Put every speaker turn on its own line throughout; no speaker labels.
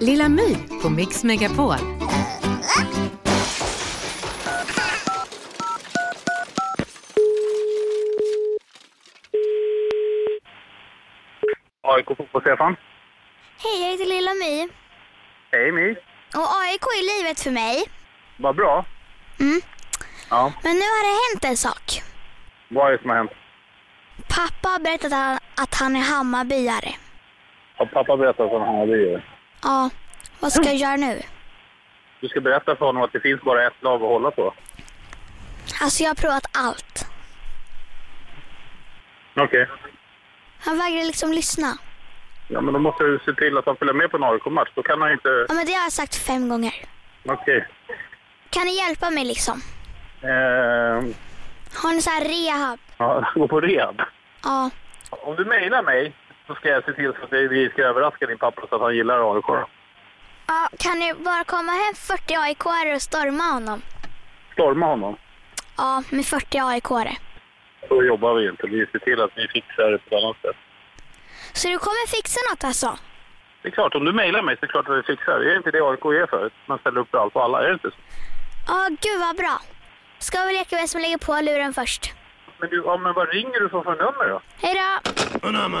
Lilla My på Mix Megapol.
AIK Fotboll-Stefan.
Hej, jag heter Lilla My.
Hej My.
Och AIK är livet för mig.
Vad bra.
Mm.
Ja,
Men nu har det hänt en sak.
vad är det som har hänt?
Pappa har berättat att han, att han är Hammarbyare.
Har pappa berättat för honom vad du
Ja, vad ska jag göra nu?
Du ska berätta för honom att det finns bara ett lag att hålla på.
Alltså jag har provat allt.
Okej.
Han vägrar liksom lyssna.
Ja, men då måste du se till att han följer med på en AIK-match. Då kan han inte...
Ja men det har jag sagt fem gånger.
Okej.
Kan ni hjälpa mig liksom?
Ehm,
Har ni så här rehab?
ja, gå på rehab.
Ja.
Om du mejlar mig så ska jag se till så att vi ska överraska din pappa så att han gillar AIK. då.
ja kan ni bara komma hem 40 aik och storma honom?
Storma honom.
Ja, med 40 aik -are.
Så jobbar vi inte. Vi ser till att vi fixar det på ett annat sätt.
Så du kommer fixa något alltså?
Det är klart, om du mejlar mig så är det klart att vi fixar det. Det är inte det AIK är för. Man ställer upp för allt och alla. Är det inte så?
Ja, gud vad bra. Ska vi leka vem som lägger på luren först?
Men, du, ja, men vad ringer du för för nummer då?
Hej då!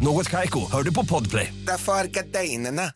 Något Kaiko, hör du på Podplay.
Därför arkadeinerna.